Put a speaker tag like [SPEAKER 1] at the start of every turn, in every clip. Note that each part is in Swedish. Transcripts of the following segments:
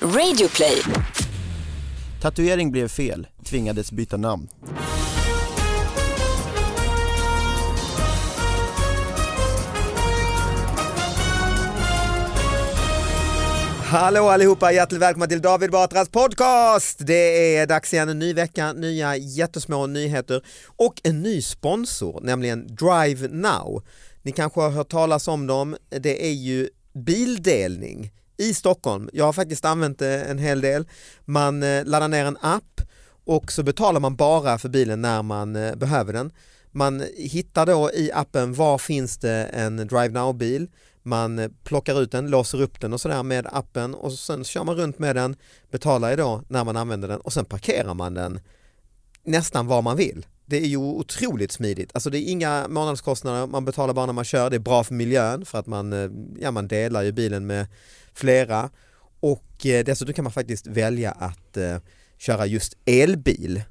[SPEAKER 1] Radioplay.
[SPEAKER 2] Tatuering blev fel, tvingades byta namn.
[SPEAKER 3] Hallå allihopa, hjärtligt välkomna till David Batras podcast! Det är dags igen, en ny vecka, nya jättesmå nyheter och en ny sponsor, nämligen Drive Now. Ni kanske har hört talas om dem, det är ju bildelning i Stockholm. Jag har faktiskt använt det en hel del. Man eh, laddar ner en app och så betalar man bara för bilen när man eh, behöver den. Man hittar då i appen var finns det en Drive Now-bil. Man eh, plockar ut den, låser upp den och sådär med appen och sen kör man runt med den, betalar ju då när man använder den och sen parkerar man den nästan var man vill. Det är ju otroligt smidigt. Alltså det är inga månadskostnader, man betalar bara när man kör, det är bra för miljön för att man, eh, ja, man delar ju bilen med flera och eh, dessutom kan man faktiskt välja att eh, köra just elbil.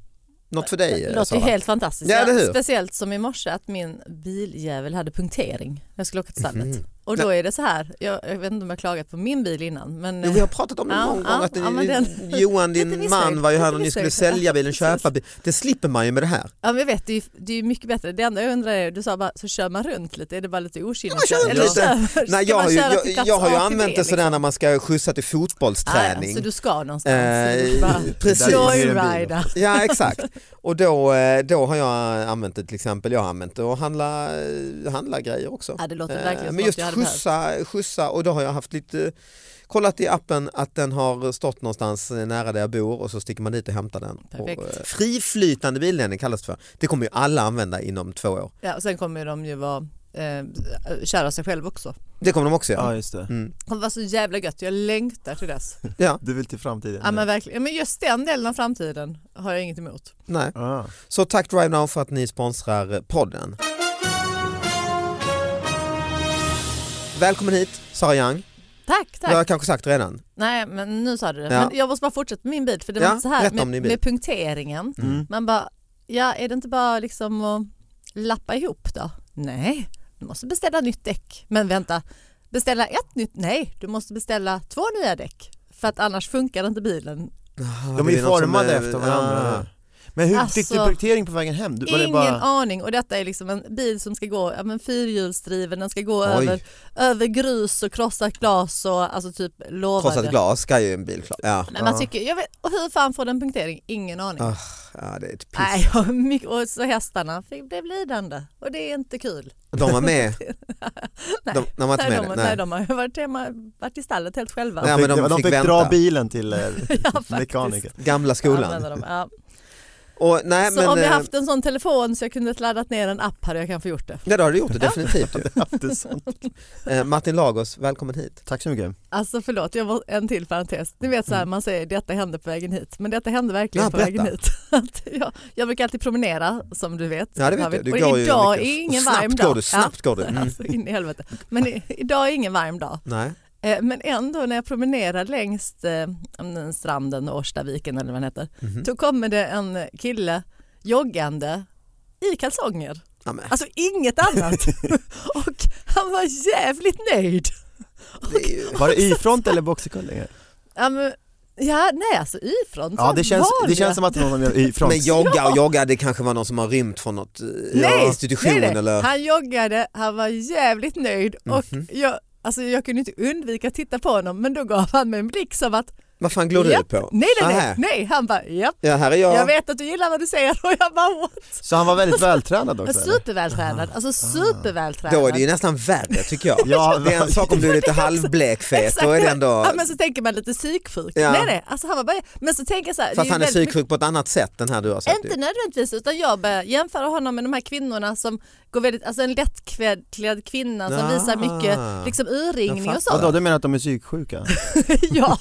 [SPEAKER 3] Något för dig?
[SPEAKER 4] Det
[SPEAKER 3] eh,
[SPEAKER 4] låter ju
[SPEAKER 3] Sara?
[SPEAKER 4] helt fantastiskt.
[SPEAKER 3] Ja, eller hur?
[SPEAKER 4] Speciellt som i morse att min biljävel hade punktering när jag skulle åka till stallet.
[SPEAKER 3] Mm.
[SPEAKER 4] Och då är det så här, jag, jag vet inte om jag klagat på min bil innan men
[SPEAKER 3] Jo, vi har pratat om det
[SPEAKER 4] Ja,
[SPEAKER 3] någon gång,
[SPEAKER 4] ja,
[SPEAKER 3] att eh,
[SPEAKER 4] ja, men den-
[SPEAKER 3] Johan
[SPEAKER 4] lite
[SPEAKER 3] din
[SPEAKER 4] missnöjd,
[SPEAKER 3] man var ju här
[SPEAKER 4] lite
[SPEAKER 3] och ni skulle
[SPEAKER 4] missnöjd.
[SPEAKER 3] sälja bilen,
[SPEAKER 4] Ja,
[SPEAKER 3] köpa bilen. Det slipper man ju med det här.
[SPEAKER 4] ja, men jag vet, det är ju det är ju mycket bättre. Det enda jag undrar är, du sa bara så kör man runt lite, är det bara lite okynne?
[SPEAKER 3] man kör runt
[SPEAKER 4] kör,
[SPEAKER 3] Nej,
[SPEAKER 4] ska
[SPEAKER 3] jag,
[SPEAKER 4] man
[SPEAKER 3] har ju,
[SPEAKER 4] köra
[SPEAKER 3] jag,
[SPEAKER 4] till plats
[SPEAKER 3] jag har ju
[SPEAKER 4] A till B,
[SPEAKER 3] använt det sådär
[SPEAKER 4] liksom?
[SPEAKER 3] när man ska skjutsa till
[SPEAKER 4] Ah, ja,
[SPEAKER 3] fotbollsträning.
[SPEAKER 4] så du ska någonstans?
[SPEAKER 3] Eh,
[SPEAKER 4] så du bara
[SPEAKER 3] precis.
[SPEAKER 4] Joyrida.
[SPEAKER 3] Ja exakt, och då, eh, då har jag använt det till exempel, jag har använt det och handla, eh, handla grejer också.
[SPEAKER 4] Ja, det låter
[SPEAKER 3] Eh,
[SPEAKER 4] verkligen
[SPEAKER 3] Men
[SPEAKER 4] som något
[SPEAKER 3] just
[SPEAKER 4] jag hade behövt.
[SPEAKER 3] skjutsa, skjutsa och då har jag haft lite, kollat i appen att den har stått någonstans nära där jag bor och så sticker man dit och hämtar den.
[SPEAKER 4] Perfekt.
[SPEAKER 3] Och, eh, friflytande bildelning kallas det för, det kommer ju alla använda inom två år.
[SPEAKER 4] Ja, och sen kommer ju de ju vara, eh, köra sig själv också.
[SPEAKER 3] Det kommer de också göra.
[SPEAKER 2] Ja just det,
[SPEAKER 3] Mm.
[SPEAKER 4] Det kommer vara så jävla gött, jag längtar till dess.
[SPEAKER 3] Ja,
[SPEAKER 2] du vill till framtiden?
[SPEAKER 4] Ja men verkligen, Ja, men just den delen av framtiden har jag inget emot.
[SPEAKER 3] nej.
[SPEAKER 2] Ah.
[SPEAKER 3] Så tack Drive Now för att ni sponsrar podden. Välkommen hit Sara Young,
[SPEAKER 4] Tack,
[SPEAKER 3] det
[SPEAKER 4] tack.
[SPEAKER 3] har jag kanske sagt redan.
[SPEAKER 4] Nej men nu sa du det.
[SPEAKER 3] Ja.
[SPEAKER 4] Men jag måste bara fortsätta med min bit för det var
[SPEAKER 3] Ja,
[SPEAKER 4] inte så här
[SPEAKER 3] berätta
[SPEAKER 4] med,
[SPEAKER 3] om din bit.
[SPEAKER 4] med punkteringen.
[SPEAKER 2] Mm.
[SPEAKER 4] Man bara, ja är det inte bara liksom att lappa ihop då? Nej, du måste beställa nytt däck. Men vänta, beställa ett nytt? Nej, du måste beställa två nya däck. För att annars funkar inte bilen.
[SPEAKER 2] De är ju formade efter varandra. eller? Men hur fick du
[SPEAKER 4] Alltså,
[SPEAKER 2] punktering på vägen hem? Du, var det
[SPEAKER 4] Ingen
[SPEAKER 2] bara...
[SPEAKER 4] aning och detta är liksom en bil som ska gå, ja, men fyrhjulsdriven, den ska gå
[SPEAKER 3] Oj.
[SPEAKER 4] över, över grus och krossat glas och alltså typ
[SPEAKER 3] Krossat
[SPEAKER 4] lovade
[SPEAKER 3] glas ska ju en bil klara. Ja.
[SPEAKER 4] Men man tycker, jag vet, och hur fan får den punktering? Ingen aning.
[SPEAKER 3] Ah, ja, det är ett piss.
[SPEAKER 4] Nej, och, mycket, och så hästarna fick, blev lidande och det är inte kul.
[SPEAKER 3] De var med.
[SPEAKER 4] Nej.
[SPEAKER 3] De, de var inte
[SPEAKER 4] nej,
[SPEAKER 3] med
[SPEAKER 4] de,
[SPEAKER 3] det.
[SPEAKER 4] nej.
[SPEAKER 3] Nej.
[SPEAKER 4] de har ju varit, hemma, varit i stallet helt själva.
[SPEAKER 3] Ja,
[SPEAKER 2] de
[SPEAKER 3] men
[SPEAKER 2] fick,
[SPEAKER 3] de
[SPEAKER 2] de
[SPEAKER 3] fick
[SPEAKER 2] fick dra
[SPEAKER 3] vänta.
[SPEAKER 2] bilen till eh,
[SPEAKER 4] Ja, faktiskt.
[SPEAKER 2] mekaniker.
[SPEAKER 3] Gamla skolan.
[SPEAKER 4] Använder de, ja.
[SPEAKER 3] Och, nej,
[SPEAKER 4] så
[SPEAKER 3] men,
[SPEAKER 4] om jag
[SPEAKER 3] eh,
[SPEAKER 4] haft en sån telefon så jag kunde laddat ner en app hade jag kanske gjort det.
[SPEAKER 3] Ja det har du gjort det, definitivt. ju.
[SPEAKER 2] Aftersson.
[SPEAKER 3] Eh, Martin Lagos, välkommen hit.
[SPEAKER 2] Tack så mycket.
[SPEAKER 4] Alltså förlåt, jag var en till parentes. Ni vet så här, man säger detta hände på vägen hit, men detta hände verkligen
[SPEAKER 3] Mm. Ja,
[SPEAKER 4] på
[SPEAKER 3] berätta.
[SPEAKER 4] vägen hit. Att jag, jag brukar alltid promenera som du vet.
[SPEAKER 3] Ja det vet
[SPEAKER 4] David.
[SPEAKER 3] jag, du
[SPEAKER 4] och
[SPEAKER 3] går ju
[SPEAKER 4] idag
[SPEAKER 3] mycket.
[SPEAKER 4] är ingen
[SPEAKER 3] Och snabbt
[SPEAKER 4] varm dag.
[SPEAKER 3] Går du, snabbt går du.
[SPEAKER 4] Ja,
[SPEAKER 3] Mm.
[SPEAKER 4] alltså, in i helvete. Men i, idag är ingen varm dag.
[SPEAKER 3] Nej.
[SPEAKER 4] Eh, men ändå när jag promenerar längs eh, om den stranden, Årstaviken eller vad den heter,
[SPEAKER 2] Mm.
[SPEAKER 3] Mhm.
[SPEAKER 4] då kommer det en kille joggande i kalsonger.
[SPEAKER 3] Ja, men,
[SPEAKER 4] Alltså inget annat. och han var jävligt nöjd.
[SPEAKER 3] det är ju...
[SPEAKER 2] Var det Y-front eller boxerkullingar?
[SPEAKER 4] Ja, men, ja nej alltså ifrån.
[SPEAKER 2] Ja det känns, det
[SPEAKER 4] vanliga.
[SPEAKER 2] känns som att det var någon som gör Y-front.
[SPEAKER 3] Men jogga och jogga, det kanske var någon som har rymt från något eh,
[SPEAKER 4] nej,
[SPEAKER 3] institution
[SPEAKER 4] nej, nej.
[SPEAKER 3] eller?
[SPEAKER 4] Han joggade, han var jävligt nöjd och
[SPEAKER 2] Mhm.
[SPEAKER 4] jag, alltså, jag kunde inte undvika att titta på honom men då gav han mig en blick som att
[SPEAKER 3] Vad fan glor du
[SPEAKER 4] Japp.
[SPEAKER 3] på?
[SPEAKER 4] nej nej nej,
[SPEAKER 3] Aha.
[SPEAKER 4] nej. han bara japp.
[SPEAKER 3] Ja här är jag.
[SPEAKER 4] Jag vet att du gillar vad du säger och jag bara what?
[SPEAKER 2] Så han var väldigt vältränad också? eller?
[SPEAKER 4] Supervältränad, alltså supervältränad.
[SPEAKER 3] Ah. Då är det ju nästan värre tycker jag.
[SPEAKER 2] Ja,
[SPEAKER 3] det är en sak om du är lite halvblekfet, då är det ändå...
[SPEAKER 4] Ja, men så tänker man lite psyksjuk.
[SPEAKER 3] Ja.
[SPEAKER 4] Nej, nej, alltså han var bara, men så tänker jag så här,
[SPEAKER 3] Fast
[SPEAKER 4] det är
[SPEAKER 3] han
[SPEAKER 4] ju
[SPEAKER 3] är
[SPEAKER 4] väldigt
[SPEAKER 3] psyksjuk på ett annat sätt än här du har sett.
[SPEAKER 4] Inte nödvändigtvis, utan jag börjar jämföra honom med de här kvinnorna som går väldigt, alltså en lättklädd kvinna som
[SPEAKER 3] Ah.
[SPEAKER 4] visar mycket liksom urringning
[SPEAKER 3] Jag
[SPEAKER 4] och
[SPEAKER 2] Vadå,
[SPEAKER 4] sånt.
[SPEAKER 2] du menar att de är psyksjuka?
[SPEAKER 4] ja,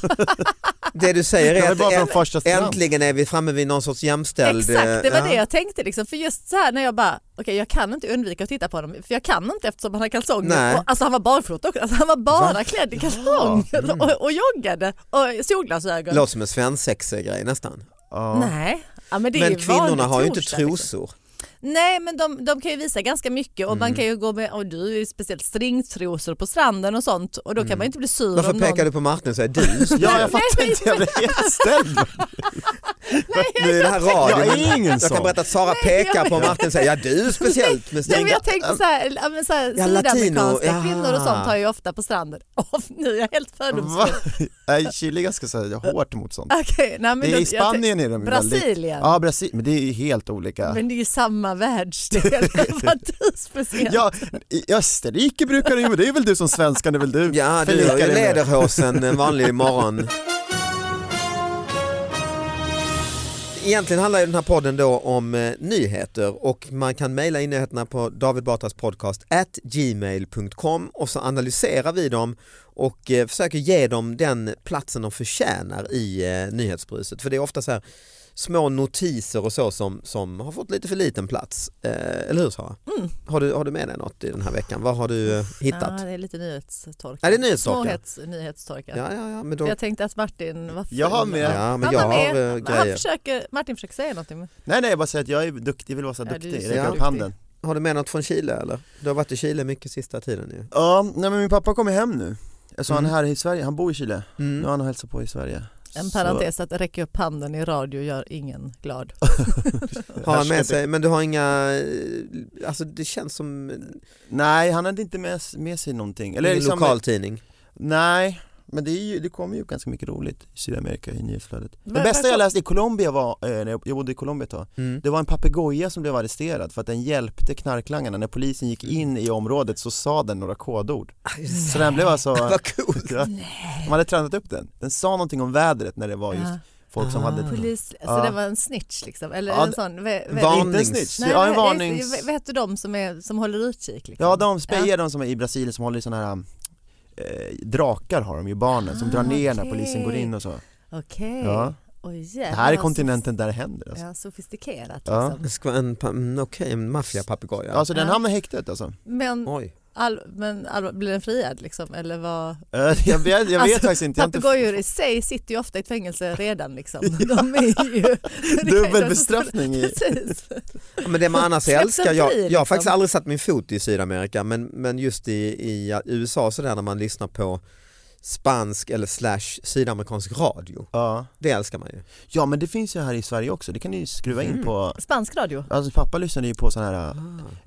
[SPEAKER 3] Det du säger
[SPEAKER 2] Jag
[SPEAKER 3] är
[SPEAKER 2] är bara från
[SPEAKER 3] att
[SPEAKER 2] första
[SPEAKER 3] änt-
[SPEAKER 2] strand.
[SPEAKER 3] äntligen är vi framme vid någon sorts jämställd...
[SPEAKER 4] exakt, det var
[SPEAKER 3] eh,
[SPEAKER 4] det jag tänkte liksom. För just så här när jag bara, okej jag kan inte undvika att titta på honom, för jag kan inte eftersom han har
[SPEAKER 3] Nej.
[SPEAKER 4] kalsonger. Och, alltså han var barfota också, alltså, han var bara
[SPEAKER 3] Va? Mm.
[SPEAKER 4] klädd i kalsonger och, och joggade och solglasögon.
[SPEAKER 3] Låter som en svensexa-grej nästan.
[SPEAKER 2] Ja.
[SPEAKER 4] Nej, ja, men det är
[SPEAKER 3] Men
[SPEAKER 4] ju
[SPEAKER 3] kvinnorna
[SPEAKER 4] vanlig
[SPEAKER 3] har ju inte
[SPEAKER 4] torsdag, liksom.
[SPEAKER 3] trosor.
[SPEAKER 4] Nej men de, de kan ju visa ganska mycket och
[SPEAKER 3] Mm.
[SPEAKER 4] man kan ju gå med, och du är ju speciellt stringtrosor på stranden och sånt och då kan man ju inte bli sur
[SPEAKER 3] Mm. Varför
[SPEAKER 4] om någon...
[SPEAKER 3] pekar du på Martin så är du?
[SPEAKER 2] Ja, jag
[SPEAKER 4] Nej,
[SPEAKER 2] fattar
[SPEAKER 4] men-
[SPEAKER 2] inte. Jag blev jätteställd.
[SPEAKER 3] Nu är det här
[SPEAKER 2] Jag
[SPEAKER 3] radio.
[SPEAKER 2] är ingen
[SPEAKER 3] Jag kan
[SPEAKER 2] sån.
[SPEAKER 3] berätta att Sara
[SPEAKER 4] Nej, jag
[SPEAKER 3] pekar på
[SPEAKER 4] vet.
[SPEAKER 3] Martin och säger ja du speciellt med
[SPEAKER 4] Nej, men
[SPEAKER 3] stringa.
[SPEAKER 4] jag tänkte så här, ja, men så här
[SPEAKER 3] Ja, latino,
[SPEAKER 4] sydamerikanska
[SPEAKER 3] ja.
[SPEAKER 4] kvinnor och sånt har ju ofta på stranden. Åh, nu är jag helt
[SPEAKER 2] Va?
[SPEAKER 4] fördomsfull.
[SPEAKER 2] Nej, Chile är ganska så här, hårt mot sånt.
[SPEAKER 4] Okej, nej, men
[SPEAKER 2] Det är I
[SPEAKER 4] då- jag tänkte-
[SPEAKER 2] Spanien är de ju väldigt...
[SPEAKER 4] Brasilien.
[SPEAKER 2] Ja, Brasilien. Men det är ju helt olika.
[SPEAKER 4] Men det är ju samma världsdel. Vad du speciellt.
[SPEAKER 2] Ja, i Österrike brukar det ju, men det är väl du som svenskan, det är väl du?
[SPEAKER 3] Ja du
[SPEAKER 2] förlikar
[SPEAKER 3] har ju
[SPEAKER 2] dig med.
[SPEAKER 3] lederhosen en vanlig morgon. Egentligen handlar ju den här podden då om eh, nyheter och man kan mejla in nyheterna på David Batras podcast at gmail.com och så analyserar vi dem och eh, försöker ge dem den platsen de förtjänar i eh, nyhetsbruset. För det är ofta så här små notiser och så som, som har fått lite för liten plats. Eh, eller hur Sara? Har, du, har du med dig något i den här veckan? Vad har du eh, hittat?
[SPEAKER 4] Ja, det är lite nyhetstorka.
[SPEAKER 3] Är det nyhetstorka?
[SPEAKER 4] Småhets, nyhetstorka.
[SPEAKER 3] Ja, ja, ja, men då...
[SPEAKER 4] Jag tänkte att Martin var full.
[SPEAKER 2] Jag har med.
[SPEAKER 3] Ja, men
[SPEAKER 4] Han
[SPEAKER 3] jag
[SPEAKER 4] var med.
[SPEAKER 3] har eh,
[SPEAKER 4] Han
[SPEAKER 3] grejer.
[SPEAKER 4] försöker, Martin försöker säga någonting. men-
[SPEAKER 2] Nej, nej, jag bara säger att jag är duktig, jag vill vara så här
[SPEAKER 4] Ja, du är
[SPEAKER 2] duktig,
[SPEAKER 4] så
[SPEAKER 2] räcka upp
[SPEAKER 4] duktig.
[SPEAKER 2] handen.
[SPEAKER 3] Har du med något från Chile eller? Du har varit i Chile mycket sista tiden ju.
[SPEAKER 2] Ja, nej men min pappa kommer hem nu. Jag sa
[SPEAKER 3] Mm.
[SPEAKER 2] han är här i Sverige, han bor i Chile. Nu
[SPEAKER 3] Mm.
[SPEAKER 2] har han och hälsat på i Sverige.
[SPEAKER 4] En
[SPEAKER 2] Så-
[SPEAKER 4] parentes att räcka upp handen i radio gör ingen glad.
[SPEAKER 3] Har han
[SPEAKER 2] härskar
[SPEAKER 3] med sig, men du har inga, eh, alltså det känns som
[SPEAKER 2] Nej, han hade inte med, med sig någonting. Eller
[SPEAKER 3] en
[SPEAKER 2] liksom,
[SPEAKER 3] lokaltidning.
[SPEAKER 2] Nej, men det, är ju, det kommer ju ganska mycket roligt i Sydamerika i nyhetsflödet. Det
[SPEAKER 4] Men-
[SPEAKER 2] bästa jag läste i Colombia var, eh, när jag jag bodde i Colombia ett tag,
[SPEAKER 3] Mm.
[SPEAKER 2] det var en papegoja som blev arresterad för att den hjälpte knarklangarna. När polisen gick in i området så sa den några kodord. Så den blev alltså,
[SPEAKER 3] Vad kul!
[SPEAKER 2] ja, de hade tränat upp den. Den sa någonting om vädret när det var just
[SPEAKER 4] Ja.
[SPEAKER 2] folk som
[SPEAKER 3] Ah.
[SPEAKER 2] hade
[SPEAKER 4] Polis,
[SPEAKER 2] Ja.
[SPEAKER 4] så det var en snitch liksom? Eller
[SPEAKER 2] Ja,
[SPEAKER 4] en sån? Ve, ve,
[SPEAKER 3] van-
[SPEAKER 2] Inte en
[SPEAKER 3] Varnings.
[SPEAKER 2] snitch,
[SPEAKER 4] nej,
[SPEAKER 2] ja en
[SPEAKER 4] ve-
[SPEAKER 2] varnings...
[SPEAKER 4] Vad heter de som, är, som håller utkik? Liksom?
[SPEAKER 2] Ja de spejar de som är i Brasilien som håller i sådana här eh, drakar har de ju barnen som
[SPEAKER 4] Ah,
[SPEAKER 2] drar ner när
[SPEAKER 4] okej.
[SPEAKER 2] polisen går in och så.
[SPEAKER 4] Okej.
[SPEAKER 2] Ja.
[SPEAKER 4] Oj,
[SPEAKER 2] Det
[SPEAKER 4] jävlar,
[SPEAKER 2] här är
[SPEAKER 4] vad
[SPEAKER 2] kontinenten där det händer
[SPEAKER 4] sof-
[SPEAKER 2] alltså.
[SPEAKER 4] Ja, sofistikerat
[SPEAKER 2] Ja.
[SPEAKER 4] liksom.
[SPEAKER 3] Det ska vara en, pa- mm, okej, en maffiapapegoja.
[SPEAKER 2] Alltså den
[SPEAKER 4] Ja.
[SPEAKER 2] hamnar i häktet alltså.
[SPEAKER 4] Men,
[SPEAKER 3] Oj.
[SPEAKER 4] all, men all, blir den friad liksom? Eller vad?
[SPEAKER 2] Eh, Jag vet, jag vet
[SPEAKER 4] Alltså,
[SPEAKER 2] faktiskt inte, jag har inte
[SPEAKER 4] Papegojor i sig sitter ju ofta i ett fängelse redan liksom. De är ju...
[SPEAKER 2] dubbel bestraffning i...
[SPEAKER 4] Precis.
[SPEAKER 3] Ja, Men det man annars
[SPEAKER 4] Släpp den
[SPEAKER 3] älskar, jag,
[SPEAKER 4] fri,
[SPEAKER 3] jag har
[SPEAKER 4] liksom.
[SPEAKER 3] faktiskt aldrig satt min fot i Sydamerika men, men just i, i USA sådär när man lyssnar på spansk eller slash sydamerikansk radio.
[SPEAKER 2] Ja.
[SPEAKER 3] Det älskar man ju.
[SPEAKER 2] ja men det finns ju här i Sverige också, det kan ni ju skruva in
[SPEAKER 3] Mm.
[SPEAKER 2] på
[SPEAKER 4] Spansk radio?
[SPEAKER 2] Alltså pappa lyssnade ju på sån här,
[SPEAKER 3] Ah.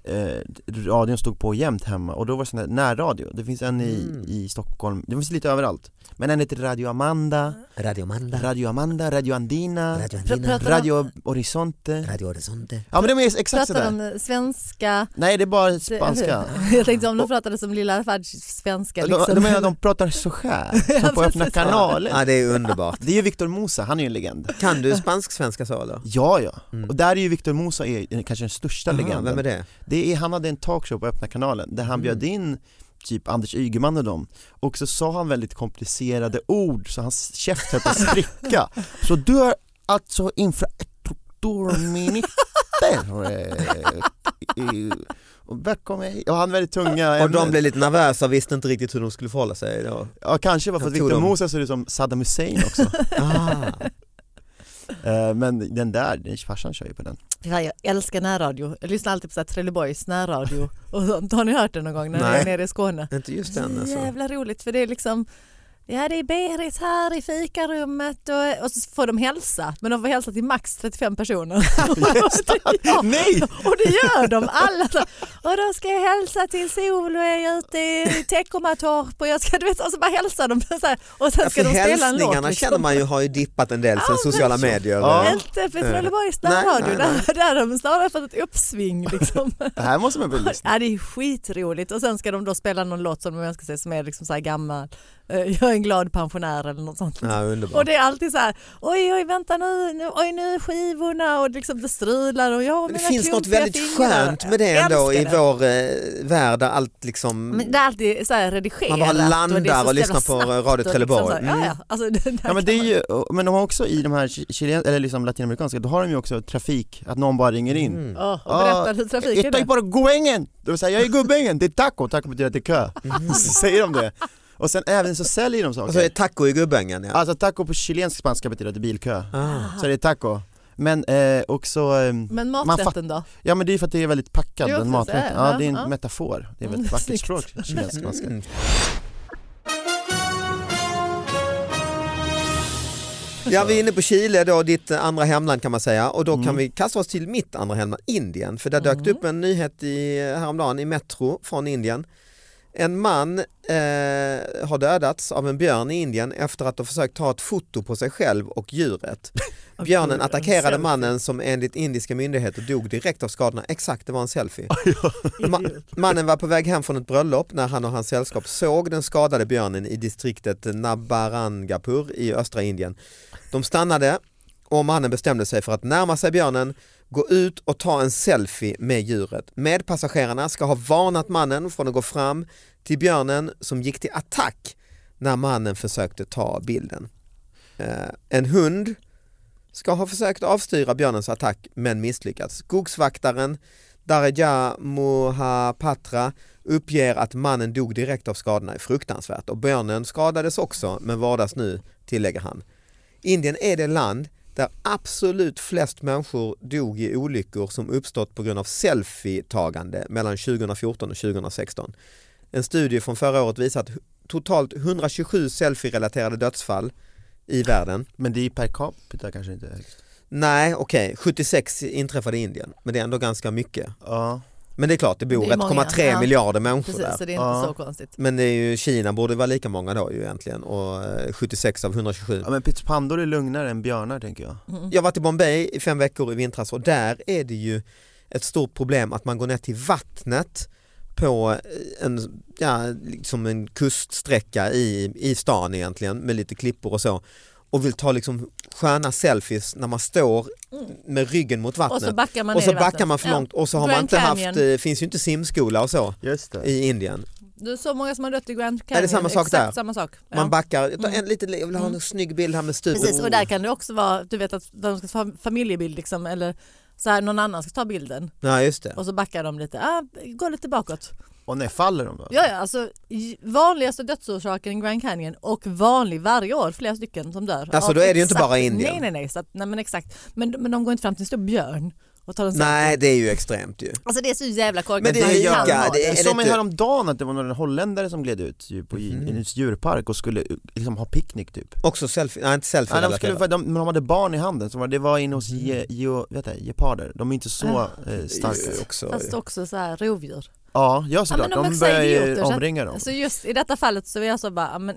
[SPEAKER 2] eh, radion stod på jämt hemma och då var det sån här närradio, det finns en i,
[SPEAKER 3] Mm.
[SPEAKER 2] i Stockholm, det finns lite överallt Men en heter Radio Amanda,
[SPEAKER 3] Radio Manda,
[SPEAKER 2] Radio Amanda, Radio Andina,
[SPEAKER 3] Radio
[SPEAKER 4] Andina, Pratar de-
[SPEAKER 2] Radio Horizonte
[SPEAKER 3] Radio Horizonte.
[SPEAKER 2] Ja men de är exakt
[SPEAKER 4] Pratar
[SPEAKER 2] sådär,
[SPEAKER 4] de svenska?
[SPEAKER 2] nej det är bara spanska
[SPEAKER 4] Jag tänkte om de pratade som Lilla Fudge svenska
[SPEAKER 2] De,
[SPEAKER 4] liksom.
[SPEAKER 2] de, menar, de pratar så här, som på Öppna kanalen
[SPEAKER 3] Ja, det är underbart.
[SPEAKER 2] Det är ju Victor Musa, han är ju en legend
[SPEAKER 3] Kan du spansk-svenska så eller?
[SPEAKER 2] Ja, ja.
[SPEAKER 3] Mm.
[SPEAKER 2] Och där är ju Victor Musa är, kanske den största
[SPEAKER 3] Aha,
[SPEAKER 2] legenden.
[SPEAKER 3] Vem är det? Mm.
[SPEAKER 2] Det är, han hade en talkshow på Öppna kanalen där han bjöd in typ Anders Ygeman och dem och så sa han väldigt komplicerade ord så hans käft höll på att spricka. Så du har alltså infrastrukturminister eh, i- och välkommen hit. Och han väldigt tunga
[SPEAKER 3] Och de
[SPEAKER 2] ämnen.
[SPEAKER 3] blev lite nervösa och visste inte riktigt hur de skulle förhålla sig. Då.
[SPEAKER 2] Ja kanske var för
[SPEAKER 3] Jag
[SPEAKER 2] att
[SPEAKER 3] tror
[SPEAKER 2] Victor
[SPEAKER 3] de-
[SPEAKER 2] Musa ser ut som Saddam Hussein också.
[SPEAKER 3] Ah.
[SPEAKER 2] Eh, Men den där, den farsan kör ju på den.
[SPEAKER 4] Fy fan, jag älskar närradio. Jag lyssnar alltid på så här Trelleborgs närradio. Och sånt. Har ni hört det någon gång när ni
[SPEAKER 3] Nej.
[SPEAKER 4] är nere i Skåne?
[SPEAKER 3] Inte just
[SPEAKER 4] Så
[SPEAKER 3] den alltså.
[SPEAKER 4] jävla roligt för det är liksom Ja det är Berit här i fikarummet och, och så får de hälsa men de får hälsa till max 35 personer.
[SPEAKER 2] Nej!
[SPEAKER 4] och det gör de alla. Så, Och då ska jag hälsa till Sol och jag är ute i Teckomatorp och jag ska du vet och så bara hälsar de så här, och sen ska
[SPEAKER 3] Alltså,
[SPEAKER 4] de spela en låt.
[SPEAKER 3] hälsningarna känner
[SPEAKER 4] Liksom.
[SPEAKER 3] man ju har ju dippat en del sen
[SPEAKER 4] men
[SPEAKER 3] sociala
[SPEAKER 4] så-
[SPEAKER 3] medier.
[SPEAKER 2] Ja.
[SPEAKER 4] Inte för
[SPEAKER 3] Eh.
[SPEAKER 4] Trelleborgs
[SPEAKER 3] Nej, nej,
[SPEAKER 4] närradio,
[SPEAKER 3] nej.
[SPEAKER 4] där, där har de snarare fått ett uppsving liksom.
[SPEAKER 2] Det här måste man väl lyssna
[SPEAKER 4] Ja, det är skitroligt och sen ska de då spela någon låt som de önskar sig som är liksom så här gammal. Eh, Jag är en glad pensionär eller något sånt.
[SPEAKER 3] Ja,
[SPEAKER 4] Och
[SPEAKER 3] underbart.
[SPEAKER 4] det är alltid så här, oj oj vänta nu, nu oj nu är skivorna och liksom det strular och jag och
[SPEAKER 3] Men det
[SPEAKER 4] mina
[SPEAKER 3] finns något
[SPEAKER 4] klumpiga
[SPEAKER 3] väldigt
[SPEAKER 4] fingrar.
[SPEAKER 3] skönt med det
[SPEAKER 4] Jag
[SPEAKER 3] ändå i
[SPEAKER 4] älskar det.
[SPEAKER 3] vår eh, värld där allt liksom...
[SPEAKER 4] Men det är alltid så här redigerat.
[SPEAKER 3] Man bara
[SPEAKER 4] och, det är
[SPEAKER 3] landar
[SPEAKER 4] så
[SPEAKER 3] och lyssnar
[SPEAKER 4] jävla
[SPEAKER 3] på
[SPEAKER 4] snabbt
[SPEAKER 3] Radio
[SPEAKER 4] och liksom
[SPEAKER 3] Trelleborg. Mm.
[SPEAKER 4] så här, ja, ja. Alltså, det där
[SPEAKER 2] Ja men
[SPEAKER 4] kan
[SPEAKER 2] det är
[SPEAKER 4] man-
[SPEAKER 2] ju, men de har också i de här chi- chilen, eller liksom latinamerikanska, då har de ju också trafik, att någon bara ringer in.
[SPEAKER 3] Mm.
[SPEAKER 4] Ja, och
[SPEAKER 2] Ja,
[SPEAKER 4] berättar hur trafiken
[SPEAKER 2] Etta är
[SPEAKER 4] är.
[SPEAKER 2] bara goängen! Det vill säga, jag är gubbängen, det är taco, taco betyder att det är kö.
[SPEAKER 4] Mm.
[SPEAKER 2] Så säger de det. Och sen även så säljer de saker.
[SPEAKER 3] Och så är det taco i Gubbängen. Ja.
[SPEAKER 2] Alltså taco på chilensk spanska betyder att det är bilkö.
[SPEAKER 3] Ah.
[SPEAKER 2] Så det är taco. Men eh, också, eh,
[SPEAKER 4] Men
[SPEAKER 2] fatt-
[SPEAKER 4] maträtten då?
[SPEAKER 2] ja men det är för att det är väldigt packad
[SPEAKER 4] Jo,
[SPEAKER 2] den
[SPEAKER 4] precis,
[SPEAKER 2] maträtten.
[SPEAKER 4] ja,
[SPEAKER 2] Ja, det är en
[SPEAKER 4] ja.
[SPEAKER 2] metafor, det är väl
[SPEAKER 4] Mm,
[SPEAKER 2] ett vackert
[SPEAKER 4] snyggt.
[SPEAKER 2] språk känns ganska.
[SPEAKER 3] Mm. Ja, vi är inne på Chile, då, ditt eh, andra hemland kan man säga. Och då kan vi kasta oss till mitt andra hemland, Indien. För där dök det upp en nyhet i, eh, häromdagen i Metro från Indien. En man eh, har dödats av en björn i Indien efter att ha försökt ta ett foto på sig själv och djuret. Björnen
[SPEAKER 1] en
[SPEAKER 3] attackerade
[SPEAKER 1] selfie.
[SPEAKER 3] mannen som enligt indiska myndigheter dog direkt av skadorna. Exakt, det var en selfie. Ma- mannen var på väg hem från ett bröllop när han och hans sällskap såg den skadade björnen i distriktet Nabarangapur i östra Indien. De stannade och mannen bestämde sig för att närma sig björnen, gå ut och ta en selfie med djuret. Medpassagerarna ska ha varnat mannen från att gå fram till björnen som gick till attack när mannen försökte ta bilden. Eh, en hund ska ha försökt avstyra björnens attack men misslyckats. Skogsvaktaren Daraja Mohapatra uppger att mannen dog direkt av skadorna. Fruktansvärt. Och björnen skadades också men vårdas nu, tillägger han. Indien är det land där absolut flest människor dog i olyckor som uppstått på grund av selfietagande mellan 2014 och 2016. En studie från förra året visar att hu- totalt 127 selfie-relaterade dödsfall i världen.
[SPEAKER 2] Men det är per capita kanske inte högt.
[SPEAKER 3] Nej, okej, 76 inträffade i Indien, men det är ändå ganska mycket.
[SPEAKER 2] Ja,
[SPEAKER 3] Men det är klart, det bor
[SPEAKER 4] Det är många,
[SPEAKER 3] 1,3
[SPEAKER 4] ja.
[SPEAKER 3] miljarder människor
[SPEAKER 4] Precis,
[SPEAKER 3] där.
[SPEAKER 4] så det är inte
[SPEAKER 2] Ja.
[SPEAKER 4] så konstigt.
[SPEAKER 3] Men det är ju, Kina borde vara lika många då ju egentligen och eh, 76 av 127.
[SPEAKER 2] ja men pyttipandor är lugnare än björnar tänker jag.
[SPEAKER 4] Mm.
[SPEAKER 3] Jag var i Bombay i fem veckor i vintras och där är det ju ett stort problem att man går ner till vattnet på eh, en, ja, liksom en kuststräcka i, i stan egentligen med lite klippor och så och vill ta liksom sköna selfies när man står med ryggen mot vattnet.
[SPEAKER 4] Mm. Och så backar man
[SPEAKER 3] och
[SPEAKER 4] ner
[SPEAKER 3] så
[SPEAKER 4] i
[SPEAKER 3] backar
[SPEAKER 4] vattnet.
[SPEAKER 3] man för
[SPEAKER 4] Ja.
[SPEAKER 3] långt och så har
[SPEAKER 4] Grand
[SPEAKER 3] man inte haft,
[SPEAKER 4] Canyon.
[SPEAKER 3] eh, finns ju inte simskola och så
[SPEAKER 2] Just det.
[SPEAKER 3] i Indien.
[SPEAKER 4] Det är så många som har dött i Grand Canyon.
[SPEAKER 3] det samma sak
[SPEAKER 4] Exakt
[SPEAKER 3] där?
[SPEAKER 4] samma sak. Ja. Mm.
[SPEAKER 3] Man "Oh." backar, jag tar en liten, jag vill ha en snygg bild här med stupet.
[SPEAKER 4] Precis, och där kan det också vara, du vet att de ska ta familjebild liksom, eller så här, någon annan ska ta bilden
[SPEAKER 3] Ja just det.
[SPEAKER 4] och så backar de lite, ah, gå lite bakåt.
[SPEAKER 2] Och när faller de då?
[SPEAKER 4] Ja, ja, alltså j- vanligaste dödsorsaken i Grand Canyon och vanlig varje år, flera stycken som dör.
[SPEAKER 3] Alltså,
[SPEAKER 4] Av
[SPEAKER 3] då är det ju inte bara Indien.
[SPEAKER 4] Nej, nej, nej, så att, nej men exakt. Men, men de går inte fram till en stor björn och tar en selfie.
[SPEAKER 3] Nej det är ju extremt ju.
[SPEAKER 4] Alltså det är så jävla korkat.
[SPEAKER 3] Men det
[SPEAKER 4] hur
[SPEAKER 3] är ju-
[SPEAKER 4] han
[SPEAKER 3] ja,
[SPEAKER 4] har
[SPEAKER 3] det är-
[SPEAKER 2] Jag såg mig
[SPEAKER 4] typ-
[SPEAKER 3] lite-
[SPEAKER 2] häromdagen att det var några holländare som gled ut ju på i- i
[SPEAKER 4] Mhm.
[SPEAKER 2] en djurpark och skulle eh, liksom ha picknick typ.
[SPEAKER 3] Också selfie, nej inte selfie
[SPEAKER 2] Ja, de, skulle, för de, men de hade barn i handen, så var- det var inne hos
[SPEAKER 4] Mhm.
[SPEAKER 2] ge, ge, vet jag, geparder, de är inte
[SPEAKER 4] Ah.
[SPEAKER 2] så eh, starka.
[SPEAKER 3] Också.
[SPEAKER 4] Fast också så här rovdjur.
[SPEAKER 2] Ja, ja
[SPEAKER 4] Ja,
[SPEAKER 2] såklart,
[SPEAKER 4] men de är
[SPEAKER 2] de
[SPEAKER 4] också
[SPEAKER 2] börjar ju
[SPEAKER 4] idioter, så att- alltså,
[SPEAKER 2] omringa dem.
[SPEAKER 4] Så just i detta fallet så är jag så bara, ja, men,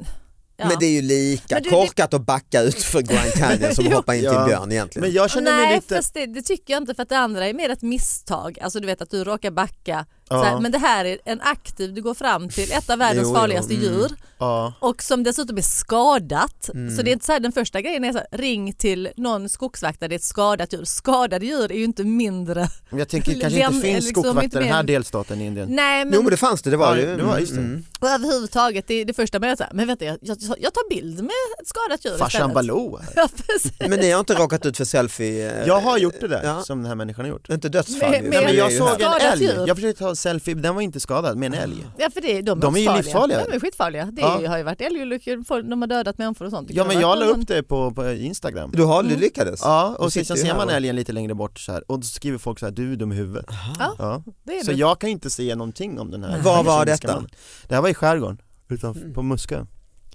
[SPEAKER 4] ja.
[SPEAKER 3] Men det är ju lika
[SPEAKER 4] Men du, det-
[SPEAKER 3] korkat att backa ut för Grand Canyon som att
[SPEAKER 4] Jo.
[SPEAKER 3] hoppa in till
[SPEAKER 2] Ja.
[SPEAKER 3] en björn egentligen.
[SPEAKER 2] Men jag känner mig
[SPEAKER 4] Nej,
[SPEAKER 2] lite,
[SPEAKER 4] fast det, det tycker jag inte för att det andra är mer ett misstag. Alltså du vet att du råkar backa.
[SPEAKER 2] Ja.
[SPEAKER 4] Så här, men det här är en aktiv, du går fram till ett av världens
[SPEAKER 3] Jo, jo,
[SPEAKER 4] farligaste
[SPEAKER 3] mm.
[SPEAKER 4] djur
[SPEAKER 2] ja,
[SPEAKER 4] och som dessutom är skadat.
[SPEAKER 2] Mm.
[SPEAKER 4] Så det är inte så här, den första grejen är så här, ring till någon skogsvaktare, det är ett skadat djur. Skadade djur är ju inte mindre.
[SPEAKER 2] men jag tänker
[SPEAKER 4] Eller
[SPEAKER 2] kanske inte
[SPEAKER 4] den-
[SPEAKER 2] finns
[SPEAKER 4] eller liksom
[SPEAKER 2] skogsvakter
[SPEAKER 4] inte
[SPEAKER 2] i den här
[SPEAKER 4] mer-
[SPEAKER 2] delstaten i Indien.
[SPEAKER 4] Nej men,
[SPEAKER 3] Jo men det fanns det, det var
[SPEAKER 2] Ja,
[SPEAKER 3] ju. Mm.
[SPEAKER 2] det var- just det.
[SPEAKER 4] och överhuvudtaget det, är det första man gör så här, men vänta jag, jag, jag tar bild med ett skadat djur
[SPEAKER 2] Farsan
[SPEAKER 4] istället.
[SPEAKER 2] Baloo här.
[SPEAKER 4] Ja, precis.
[SPEAKER 3] Men ni har inte råkat ut för selfie? eh,
[SPEAKER 2] Jag har gjort det där,
[SPEAKER 3] Ja.
[SPEAKER 2] som den här människan har gjort.
[SPEAKER 3] Inte dödsfall
[SPEAKER 4] Men-
[SPEAKER 3] ju.
[SPEAKER 4] men-
[SPEAKER 2] Nej, men
[SPEAKER 3] Vi är
[SPEAKER 2] jag
[SPEAKER 3] ju
[SPEAKER 2] såg
[SPEAKER 3] här.
[SPEAKER 2] en
[SPEAKER 4] Skadat
[SPEAKER 2] älg,
[SPEAKER 4] djup.
[SPEAKER 2] jag försökte ta en selfie, den var inte skadad med en älg.
[SPEAKER 4] Ja för Ah, det, de,
[SPEAKER 2] De är ju
[SPEAKER 4] också farliga.
[SPEAKER 2] livsfarliga.
[SPEAKER 4] De är skitfarliga. Det
[SPEAKER 2] Ja.
[SPEAKER 4] är, ju- har ju varit älgolyckor, folk- de har dödat människor och sånt. Det
[SPEAKER 2] Ja
[SPEAKER 4] kan
[SPEAKER 2] men
[SPEAKER 4] ha varit
[SPEAKER 2] jag la
[SPEAKER 4] någon-
[SPEAKER 2] upp det på, på Instagram.
[SPEAKER 3] Du har, du
[SPEAKER 4] Mm.
[SPEAKER 3] lyckades?
[SPEAKER 2] Ja,
[SPEAKER 3] Du
[SPEAKER 2] och sen
[SPEAKER 3] sitter
[SPEAKER 2] sen
[SPEAKER 3] ju
[SPEAKER 2] ser
[SPEAKER 3] här
[SPEAKER 2] man
[SPEAKER 3] och-
[SPEAKER 2] älgen lite längre bort så här och då skriver folk så här, du är dum i huvudet.
[SPEAKER 4] Ja.
[SPEAKER 2] Ja.
[SPEAKER 4] Det är
[SPEAKER 2] Så
[SPEAKER 4] det.
[SPEAKER 2] jag kan inte säga någonting om den här
[SPEAKER 3] Var var
[SPEAKER 2] kinesiska
[SPEAKER 3] detta?
[SPEAKER 2] mannen. Det här var i skärgården, utanför,
[SPEAKER 4] Mm.
[SPEAKER 2] på Muskö.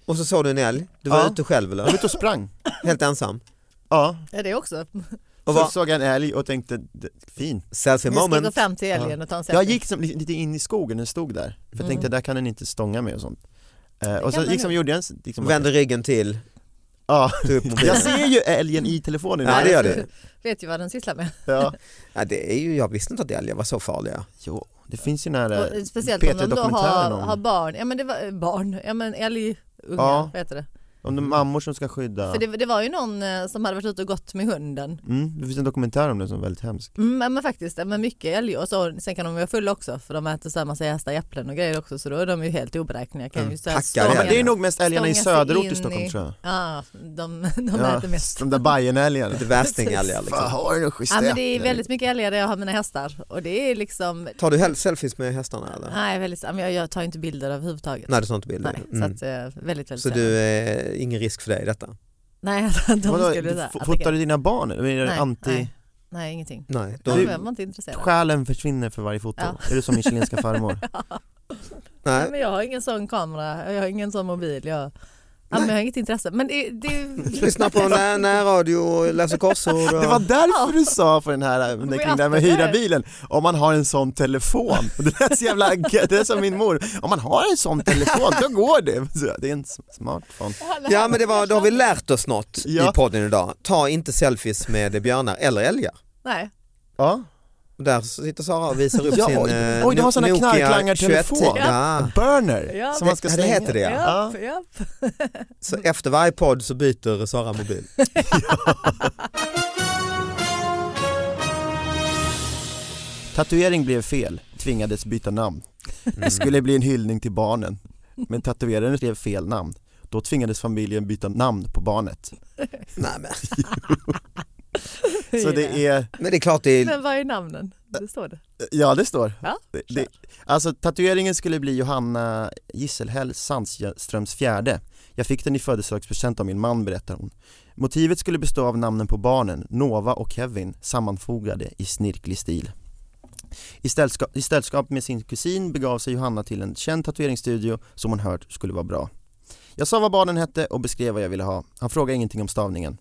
[SPEAKER 3] Och så såg du en älg, du var
[SPEAKER 2] Ja.
[SPEAKER 3] ute själv
[SPEAKER 2] Jag var
[SPEAKER 3] eller?
[SPEAKER 2] ute och sprang,
[SPEAKER 3] Helt ensam?
[SPEAKER 2] ja,
[SPEAKER 4] Ja, det också.
[SPEAKER 3] Och
[SPEAKER 2] så
[SPEAKER 3] vad-
[SPEAKER 2] såg jag en älg och tänkte, "D- fin
[SPEAKER 3] Selfie
[SPEAKER 4] Vi ska gå
[SPEAKER 3] moment?
[SPEAKER 4] fram till älgen och ta en selfie.
[SPEAKER 2] Jag gick som, li- lite in i skogen, den stod där, för jag tänkte där kan den inte stånga mig och sånt eh, Och så
[SPEAKER 4] Mm. kan den
[SPEAKER 2] liksom
[SPEAKER 4] ju.
[SPEAKER 2] gjorde jag en, liksom,
[SPEAKER 3] Vänder ryggen till,
[SPEAKER 2] ja.
[SPEAKER 3] tog upp mobilen.
[SPEAKER 2] Jag ser ju älgen i telefonen
[SPEAKER 3] Ja det gör det.
[SPEAKER 4] Vet ju vad den sysslar med.
[SPEAKER 2] Ja.
[SPEAKER 3] Ja, det är ju, jag visste inte att älgar var så farliga.
[SPEAKER 2] Jo, det finns ju den här eh,
[SPEAKER 4] Och Speciellt om de då har,
[SPEAKER 2] P3-dokumentären om,
[SPEAKER 4] har barn. Ja men det var eh, barn, ja men älgungar,
[SPEAKER 2] Ja.
[SPEAKER 4] vad heter det?
[SPEAKER 2] om de mammor som ska skydda
[SPEAKER 4] För det, det var ju någon eh, som hade varit ute och gått med hunden.
[SPEAKER 2] mm, Det finns en dokumentär om det som är väldigt hemsk
[SPEAKER 4] Mm, ja, men faktiskt, ja, men mycket älg och så. Sen kan de vara fulla också för de äter så här massa jästa äpplen och grejer också så då är de ju helt oberäkneliga. Kan ju så här
[SPEAKER 3] Hackar
[SPEAKER 2] Ja
[SPEAKER 4] stånga-
[SPEAKER 3] älgar.
[SPEAKER 2] men Mm, det är nog mest älgarna i
[SPEAKER 4] stånga sig
[SPEAKER 2] söderort
[SPEAKER 4] in
[SPEAKER 2] i Stockholm tror jag
[SPEAKER 4] Ja, de, de
[SPEAKER 2] Ja,
[SPEAKER 4] äter mest.
[SPEAKER 2] de där Bajenälgarna
[SPEAKER 3] Lite värstingälgar
[SPEAKER 2] Fan,
[SPEAKER 3] liksom.
[SPEAKER 2] har du något schysst
[SPEAKER 4] Ja, men
[SPEAKER 2] äpple?
[SPEAKER 4] det är väldigt mycket älgar där jag har mina hästar och det är liksom,
[SPEAKER 3] Tar du hel- selfies med hästarna eller?
[SPEAKER 4] nej väldigt, ja, men jag, jag tar ju inte bilder överhuvudtaget.
[SPEAKER 3] Nej du tar inte bilder?
[SPEAKER 4] Nej, så
[SPEAKER 3] Mm.
[SPEAKER 4] att, eh, väldigt, väldigt
[SPEAKER 3] Så
[SPEAKER 4] sällan.
[SPEAKER 3] du, eh, ingen risk för dig i detta?
[SPEAKER 4] Nej, de
[SPEAKER 2] Vadå,
[SPEAKER 4] skulle
[SPEAKER 2] du
[SPEAKER 4] där.
[SPEAKER 2] fo- Fotar du dina barn? Eller Är det
[SPEAKER 4] Nej,
[SPEAKER 2] anti...
[SPEAKER 4] nej. Nej, ingenting.
[SPEAKER 3] Nej,
[SPEAKER 4] De
[SPEAKER 3] de,
[SPEAKER 4] är man inte intresserad. av.
[SPEAKER 2] Själen försvinner för varje foto.
[SPEAKER 4] Ja.
[SPEAKER 2] Är du som min chilenska farmor?
[SPEAKER 4] Nej,
[SPEAKER 3] nej.
[SPEAKER 4] men jag har ingen sån kamera, jag har ingen sån mobil. Jag, ja, men jag har inget intresse. Men det, det,
[SPEAKER 3] Lyssna på när- närradio och läser korsord. Och...
[SPEAKER 2] Det var därför du sa på den här
[SPEAKER 4] vi
[SPEAKER 2] den kring det här med
[SPEAKER 4] alltid
[SPEAKER 2] hyra
[SPEAKER 4] där.
[SPEAKER 2] bilen, om man har en sån telefon. Och Det lät så jävla, det är som min mor, om man har en sån telefon då går det. Så Det är en s- smartphone.
[SPEAKER 3] Ja men det, var, då har vi lärt oss något
[SPEAKER 2] Ja.
[SPEAKER 3] i podden idag. Ta inte selfies med björnar eller älgar.
[SPEAKER 4] Nej,
[SPEAKER 2] Ja.
[SPEAKER 3] Där sitter Sara och visar upp
[SPEAKER 2] Ja,
[SPEAKER 3] sin
[SPEAKER 2] oj,
[SPEAKER 3] eh,
[SPEAKER 2] oj, du har såna
[SPEAKER 3] Nokia
[SPEAKER 2] knarklangartelefon.
[SPEAKER 3] 21. Ja.
[SPEAKER 2] Burner,
[SPEAKER 4] Ja,
[SPEAKER 2] som man ska
[SPEAKER 3] Ja, det
[SPEAKER 2] slänga.
[SPEAKER 3] heter det ja.
[SPEAKER 4] ja.
[SPEAKER 2] Ja.
[SPEAKER 4] ja.
[SPEAKER 3] Så efter varje podd så byter Sara mobil.
[SPEAKER 2] Tatuering blev fel, tvingades byta namn. Det skulle bli en hyllning till barnen. Men tatueraren skrev fel namn. Då tvingades familjen byta namn på barnet.
[SPEAKER 3] Nej, men,
[SPEAKER 2] Så det är,
[SPEAKER 3] men det är klart det är...
[SPEAKER 4] Men vad är namnen? Det står det.
[SPEAKER 2] ja det står.
[SPEAKER 4] Ja,
[SPEAKER 2] Det, det, alltså tatueringen skulle bli Johanna Gisselhäll Sandströms fjärde. Jag fick den i födelsedagspresent av min man berättar hon. Motivet skulle bestå av namnen på barnen, Nova och Kevin, sammanfogade i snirklig stil. I ställskap, I ställskap med sin kusin begav sig Johanna till en känd tatueringsstudio som hon hört skulle vara bra. Jag sa vad barnen hette och beskrev vad jag ville ha. Han frågade ingenting om stavningen.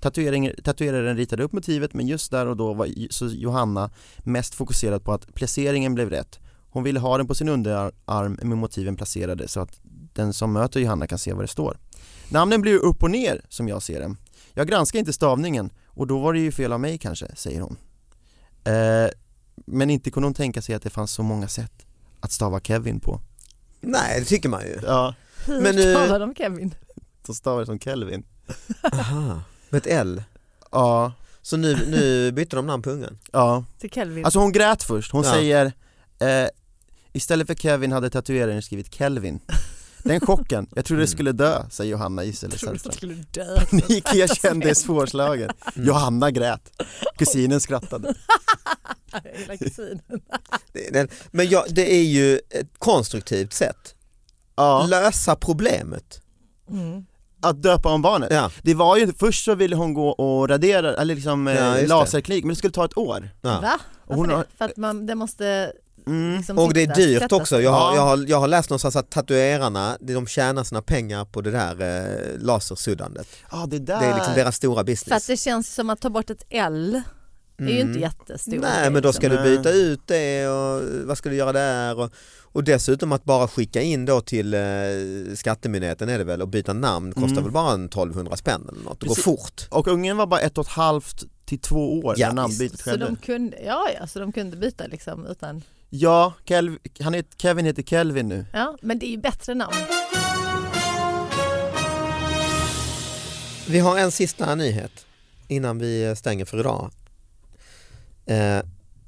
[SPEAKER 2] Tatuering, tatueraren ritade upp motivet men just där och då var ju- så Johanna mest fokuserad på att placeringen blev rätt. Hon ville ha den på sin underarm med motiven placerade så att den som möter Johanna kan se vad det står. Namnen blir ju upp och ner som jag ser dem. Jag granskar inte stavningen och då var det ju fel av mig kanske, säger hon. Eh, men inte kunde hon tänka sig att det fanns så många sätt att stava Kevin på.
[SPEAKER 3] Nej det tycker man ju.
[SPEAKER 2] Ja,
[SPEAKER 4] Hur
[SPEAKER 3] Men, eh,
[SPEAKER 4] talar de Kevin?
[SPEAKER 2] så stavar det som Kelvin.
[SPEAKER 3] Aha. Med ett L.
[SPEAKER 2] Ja,
[SPEAKER 3] Så nu, nu bytte de namn på ungen.
[SPEAKER 2] ja.
[SPEAKER 4] Till Kelvin?
[SPEAKER 2] Alltså hon grät först, hon
[SPEAKER 3] Typ. Ja.
[SPEAKER 2] säger eh, Istället för Kevin hade tatueraren skrivit Kelvin Den chocken, jag trodde det
[SPEAKER 3] Mm.
[SPEAKER 2] skulle dö, säger Johanna Gisela
[SPEAKER 4] jag trodde att de
[SPEAKER 2] Sällström
[SPEAKER 4] skulle dö.
[SPEAKER 2] Nick erkände svårslagen,
[SPEAKER 3] Mm.
[SPEAKER 2] Johanna grät, kusinen skrattade
[SPEAKER 4] Hela kusinen.
[SPEAKER 3] Det- det- Men ja, det är ju ett konstruktivt sätt.
[SPEAKER 2] Ja,
[SPEAKER 3] Lösa problemet.
[SPEAKER 4] Mm.
[SPEAKER 2] att döpa om barnet
[SPEAKER 3] Ja.
[SPEAKER 2] Det var ju, först så ville hon gå och radera, eller liksom eh,
[SPEAKER 3] Ja, just det.
[SPEAKER 2] laserklinik, men det skulle ta ett år
[SPEAKER 3] Ja.
[SPEAKER 4] Va?
[SPEAKER 2] Och
[SPEAKER 4] Varför
[SPEAKER 2] hon har,
[SPEAKER 4] det? För att man, det måste
[SPEAKER 2] mm,
[SPEAKER 4] liksom
[SPEAKER 3] Och det är
[SPEAKER 4] sitta,
[SPEAKER 3] dyrt
[SPEAKER 4] sätta
[SPEAKER 3] också.
[SPEAKER 4] sig.
[SPEAKER 3] Jag har,
[SPEAKER 2] Ja.
[SPEAKER 3] jag har, jag har läst någonstans att tatuerarna de tjänar sina pengar på det där eh, lasersuddandet.
[SPEAKER 2] ja det där
[SPEAKER 3] Det är liksom deras stora
[SPEAKER 4] För att
[SPEAKER 3] business.
[SPEAKER 4] det känns som att ta bort ett L, det är ju inte liksom. jättestort.
[SPEAKER 3] Mm. Nej men då ska du
[SPEAKER 2] Nej.
[SPEAKER 3] byta ut det och vad ska du göra där och, och dessutom att bara skicka in då till eh, skattemyndigheten är det väl och byta namn kostar
[SPEAKER 2] Mm.
[SPEAKER 3] väl bara en 1200 spänn eller något. Det går
[SPEAKER 2] Precis.
[SPEAKER 3] fort.
[SPEAKER 2] Och ungen var bara ett och ett halvt till två år
[SPEAKER 3] Ja,
[SPEAKER 2] när namnbytet
[SPEAKER 4] Så
[SPEAKER 2] skedde
[SPEAKER 4] de kunde, ja, ja, så de kunde byta liksom utan,
[SPEAKER 2] Ja, Kelv, han heter, Kevin heter Kelvin nu
[SPEAKER 4] ja, men det är ju bättre namn.
[SPEAKER 3] Vi har en sista nyhet innan vi stänger för idag. Eh,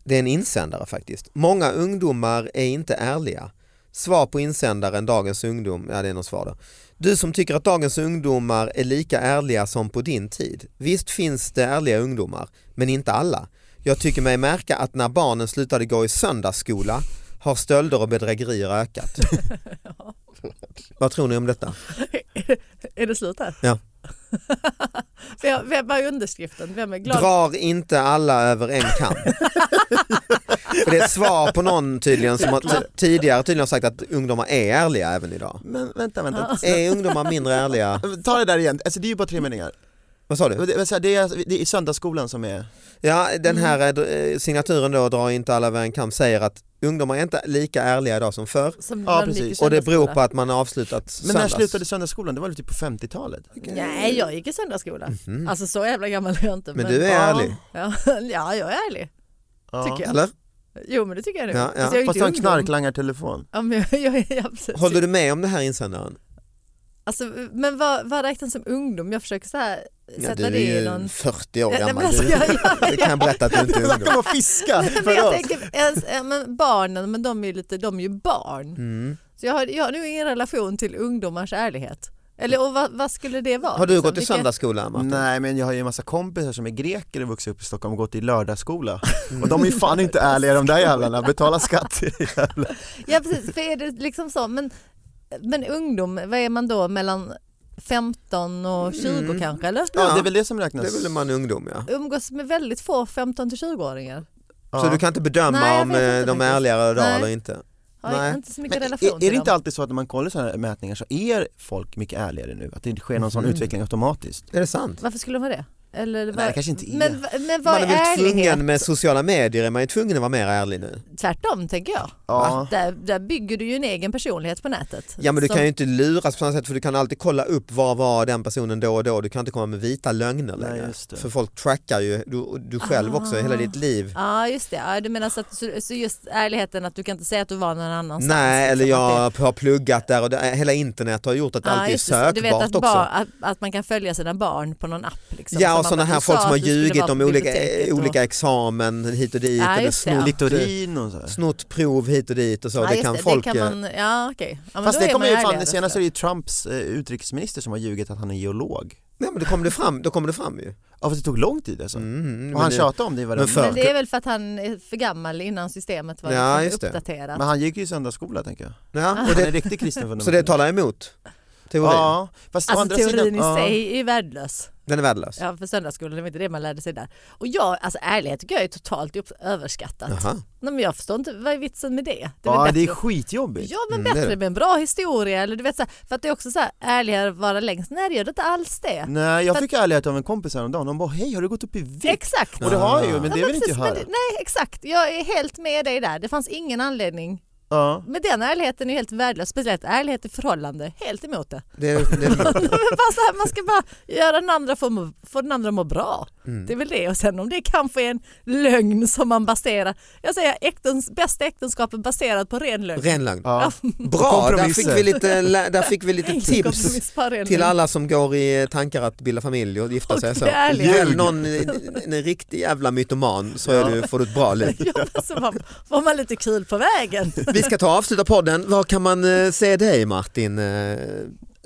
[SPEAKER 3] det är en insändare faktiskt. Många ungdomar är inte ärliga. Svar på insändaren Dagens ungdom, ja det är någon svar då. Du som tycker att dagens ungdomar är lika ärliga som på din tid. Visst finns det ärliga ungdomar, men inte alla. Jag tycker mig märka att när barnen slutade gå i söndagsskola har stölder och bedrägerier ökat. Vad tror ni om detta?
[SPEAKER 4] är det slut här?
[SPEAKER 3] Ja.
[SPEAKER 4] vem, vem har underskriften? Vem är glad?
[SPEAKER 3] Drar inte alla över en kam. För det är ett svar på någon tydligen som har t- tidigare tydligen har sagt att ungdomar är ärliga även idag.
[SPEAKER 2] Men vänta, vänta.
[SPEAKER 3] Är ungdomar mindre ärliga?
[SPEAKER 2] Ta det där igen, alltså det är ju bara tre meningar.
[SPEAKER 3] Vad sa du?
[SPEAKER 2] Men Det, men så här, det, är, det är söndagsskolan som är...
[SPEAKER 3] Ja, den här eh, signaturen då, drar inte alla över en kam, säger att ungdomar är inte lika ärliga idag som förr
[SPEAKER 4] Som
[SPEAKER 2] Ja,
[SPEAKER 4] de gick i
[SPEAKER 2] precis.
[SPEAKER 3] och det beror
[SPEAKER 4] söndagsskola.
[SPEAKER 3] på att man har avslutat
[SPEAKER 2] Men
[SPEAKER 3] söndags.
[SPEAKER 2] när slutade söndagsskolan? Det var väl typ på 50-talet?
[SPEAKER 4] Nej, jag gick i söndagsskola. Alltså så jävla gammal är jag inte.
[SPEAKER 3] Mhm. Men du är ärlig,
[SPEAKER 4] Ja, ja, jag är ärlig. Tycker jag.
[SPEAKER 3] eller?
[SPEAKER 4] Jo, men det tycker jag nu.
[SPEAKER 3] Ja, ja.
[SPEAKER 4] Alltså, jag är ju
[SPEAKER 2] Fast
[SPEAKER 4] inte
[SPEAKER 2] du har en
[SPEAKER 4] ungdom.
[SPEAKER 2] knarklangartelefon.
[SPEAKER 4] Ja, men jag, jag, jag, precis.
[SPEAKER 3] Håller du med om den här insändaren?
[SPEAKER 4] Alltså, men vad, vad räknas som ungdom? Jag försöker så här,
[SPEAKER 3] Ja,
[SPEAKER 4] sätta
[SPEAKER 3] du är
[SPEAKER 4] det i
[SPEAKER 3] ju
[SPEAKER 4] någon...
[SPEAKER 3] 40 år
[SPEAKER 4] Ja, nej, men
[SPEAKER 3] gammal,
[SPEAKER 4] alltså,
[SPEAKER 3] du,
[SPEAKER 4] jag- jag-
[SPEAKER 3] det kan jag berätta att du inte är
[SPEAKER 2] Snacka
[SPEAKER 3] ungdom.
[SPEAKER 2] om att fiska!
[SPEAKER 4] Men jag
[SPEAKER 2] För oss.
[SPEAKER 4] tänker, ens, eh, men barnen, men de är ju lite, de är ju barn.
[SPEAKER 3] Mm.
[SPEAKER 4] Så jag har, jag har nu ingen relation till ungdomars ärlighet. Eller och vad, vad skulle det vara?
[SPEAKER 3] Har du
[SPEAKER 4] liksom?
[SPEAKER 3] gått i
[SPEAKER 4] Vilka-
[SPEAKER 3] söndagsskolan Martin?
[SPEAKER 2] Nej men jag har ju en massa kompisar som är greker och vuxit upp i Stockholm och gått i lördagsskola. Och de är ju fan inte ärliga de där jävlarna, betala skatt.
[SPEAKER 4] Ja precis, för är det liksom så, men, men ungdom, vad är man då mellan 15 och 20
[SPEAKER 3] Mm.
[SPEAKER 4] kanske eller?
[SPEAKER 2] Ja,
[SPEAKER 3] Ja.
[SPEAKER 2] det är väl det som räknas?
[SPEAKER 3] Det är väl man ungdom ja.
[SPEAKER 4] Umgås med väldigt få 15 till 20-åringar.
[SPEAKER 2] Ja.
[SPEAKER 3] Så du kan inte bedöma
[SPEAKER 4] Nej, jag
[SPEAKER 3] om
[SPEAKER 4] vet inte
[SPEAKER 3] eh, de är
[SPEAKER 4] faktiskt.
[SPEAKER 3] ärligare idag
[SPEAKER 4] Nej.
[SPEAKER 3] eller inte?
[SPEAKER 4] Har
[SPEAKER 3] Nej.
[SPEAKER 4] inte så mycket
[SPEAKER 2] Men
[SPEAKER 4] relation
[SPEAKER 2] är,
[SPEAKER 4] till
[SPEAKER 2] är det inte
[SPEAKER 4] dem.
[SPEAKER 2] alltid så att när man kollar sådana här mätningar så är folk mycket ärligare nu? Att det sker någon sån
[SPEAKER 3] Mhm.
[SPEAKER 2] utveckling automatiskt?
[SPEAKER 3] Är det sant?
[SPEAKER 4] Varför skulle de vara det? Eller
[SPEAKER 2] Nej,
[SPEAKER 4] vad-
[SPEAKER 2] det kanske inte är.
[SPEAKER 4] Men, v- men vad
[SPEAKER 3] Man är
[SPEAKER 4] är
[SPEAKER 3] väl
[SPEAKER 4] ärlighet?
[SPEAKER 3] tvungen med sociala medier, är man ju tvungen att vara mer ärlig nu.
[SPEAKER 4] Tvärtom tänker jag.
[SPEAKER 2] Ja.
[SPEAKER 4] Där, där bygger du ju en egen personlighet på nätet.
[SPEAKER 3] Ja men du
[SPEAKER 4] Så-
[SPEAKER 3] kan ju inte luras på samma sätt för du kan alltid kolla upp var var den personen då och då. Du kan inte komma med vita lögner
[SPEAKER 2] Nej,
[SPEAKER 3] längre.
[SPEAKER 2] just det.
[SPEAKER 3] För folk trackar ju du, och du själv också,
[SPEAKER 4] Ah.
[SPEAKER 3] hela ditt liv.
[SPEAKER 4] Ja just det, ja, du menar så, att, så, så just ärligheten att du kan inte säga att du var någon annanstans.
[SPEAKER 3] Nej,
[SPEAKER 4] liksom,
[SPEAKER 3] eller
[SPEAKER 4] att
[SPEAKER 3] jag har pluggat där och där. hela internet har gjort att
[SPEAKER 4] det-
[SPEAKER 3] allt är
[SPEAKER 4] just det, så
[SPEAKER 3] sökbart
[SPEAKER 4] Du vet att,
[SPEAKER 3] också.
[SPEAKER 4] barn, att, att man kan följa sina barn på någon app. Liksom,
[SPEAKER 3] ja,
[SPEAKER 4] Som
[SPEAKER 3] och
[SPEAKER 4] man
[SPEAKER 3] sådana
[SPEAKER 4] bara,
[SPEAKER 3] här
[SPEAKER 4] du
[SPEAKER 3] folk
[SPEAKER 4] sa
[SPEAKER 3] som har
[SPEAKER 4] att du skulle
[SPEAKER 3] ljugit
[SPEAKER 4] vara
[SPEAKER 3] om
[SPEAKER 4] på
[SPEAKER 3] olika,
[SPEAKER 4] biblioteket och-
[SPEAKER 3] olika examen hit och dit
[SPEAKER 4] Ja,
[SPEAKER 3] eller
[SPEAKER 4] just det, ja.
[SPEAKER 3] snott,
[SPEAKER 2] Littorin och så. här.
[SPEAKER 3] snott prov hit och dit och så.
[SPEAKER 4] Ja,
[SPEAKER 3] det
[SPEAKER 4] just
[SPEAKER 3] kan folk... eh,
[SPEAKER 4] det kan man, ja, okej. Ja, men
[SPEAKER 2] Fast
[SPEAKER 4] då
[SPEAKER 2] det
[SPEAKER 4] är
[SPEAKER 2] kommer
[SPEAKER 4] man
[SPEAKER 2] ju fan,
[SPEAKER 4] ärligare,
[SPEAKER 2] senast är
[SPEAKER 4] såklart.
[SPEAKER 2] det ju Trumps eh, utrikesminister som har ljugit att han är geolog.
[SPEAKER 3] Nej, men då kommer det fram, då kommer det fram ju.
[SPEAKER 2] Ja fast det tog lång tid alltså.
[SPEAKER 3] Mm, men
[SPEAKER 2] Och han
[SPEAKER 3] det-
[SPEAKER 2] tjatade om det i varenda...
[SPEAKER 3] men för-
[SPEAKER 4] Men det är väl för att han är för gammal innan systemet var
[SPEAKER 3] Ja, just
[SPEAKER 4] liksom
[SPEAKER 3] det.
[SPEAKER 4] uppdaterat.
[SPEAKER 2] Men han gick ju i söndagsskola tänker jag.
[SPEAKER 3] Ja, och
[SPEAKER 2] Han är
[SPEAKER 3] det,
[SPEAKER 2] en riktig kristen fundament.
[SPEAKER 3] så det talar emot teorin?
[SPEAKER 2] Ja, fast å andra
[SPEAKER 4] Alltså teorin
[SPEAKER 2] sidan,
[SPEAKER 4] i
[SPEAKER 2] ja.
[SPEAKER 4] sig är värdelös.
[SPEAKER 3] Den är värdelös?
[SPEAKER 4] Ja, för söndagsskolan, det var inte det man lärde sig där. Och jag, alltså ärlighet tycker jag är totalt upp- överskattat.
[SPEAKER 3] Jaha.
[SPEAKER 4] Nej, men jag förstår inte, vad är vitsen med det? Det är väl
[SPEAKER 2] Ja det är
[SPEAKER 4] bättre
[SPEAKER 2] skitjobbigt.
[SPEAKER 4] Ja men
[SPEAKER 3] Mm, det är
[SPEAKER 4] bättre
[SPEAKER 3] det.
[SPEAKER 4] med en bra historia eller du vet så här, för att det är också så här ärligare att vara längst. Nej det gör det inte alls det.
[SPEAKER 2] Nej jag
[SPEAKER 4] För-
[SPEAKER 2] fick ärlighet av en kompis häromdagen, hon bara hej har du gått upp i vikt?
[SPEAKER 4] Exakt.
[SPEAKER 2] Och Mm, det har jag ju men
[SPEAKER 4] Ja,
[SPEAKER 2] det
[SPEAKER 4] men
[SPEAKER 2] vill inte jag
[SPEAKER 4] precis, men
[SPEAKER 2] höra.
[SPEAKER 4] det- Nej exakt, jag är helt med dig där. Det fanns ingen anledning.
[SPEAKER 2] Ja.
[SPEAKER 4] Men den ärligheten är helt värdelös, speciellt ärlighet i förhållande, helt emot det.
[SPEAKER 3] Det, är- det, är-
[SPEAKER 4] men bara så här, man ska bara göra den andra för att må, få den andra att må bra.
[SPEAKER 3] Mm.
[SPEAKER 4] Det är väl det och sen om det kanske är en lögn som man baserar, jag säger äktens, bästa äktenskapet baserat på ren lögn.
[SPEAKER 3] ren lögn.
[SPEAKER 2] Ja.
[SPEAKER 3] Bra, där fick, vi
[SPEAKER 2] kompromisser.
[SPEAKER 3] lite, lä- där fick vi lite
[SPEAKER 4] Enkel
[SPEAKER 3] tips
[SPEAKER 4] kompromiss på ren
[SPEAKER 3] till
[SPEAKER 4] lögn.
[SPEAKER 3] alla som går i tankar att bilda familj och gifta
[SPEAKER 4] Och
[SPEAKER 3] sig. Så.
[SPEAKER 4] bli ärliga.
[SPEAKER 3] Välj någon, en, en riktig jävla mytoman så är du, får du ett bra liv.
[SPEAKER 4] Ja, men så var, var man lite kul på vägen.
[SPEAKER 3] Vi ska ta och avsluta podden. Var kan man eh, se dig Martin? Eh,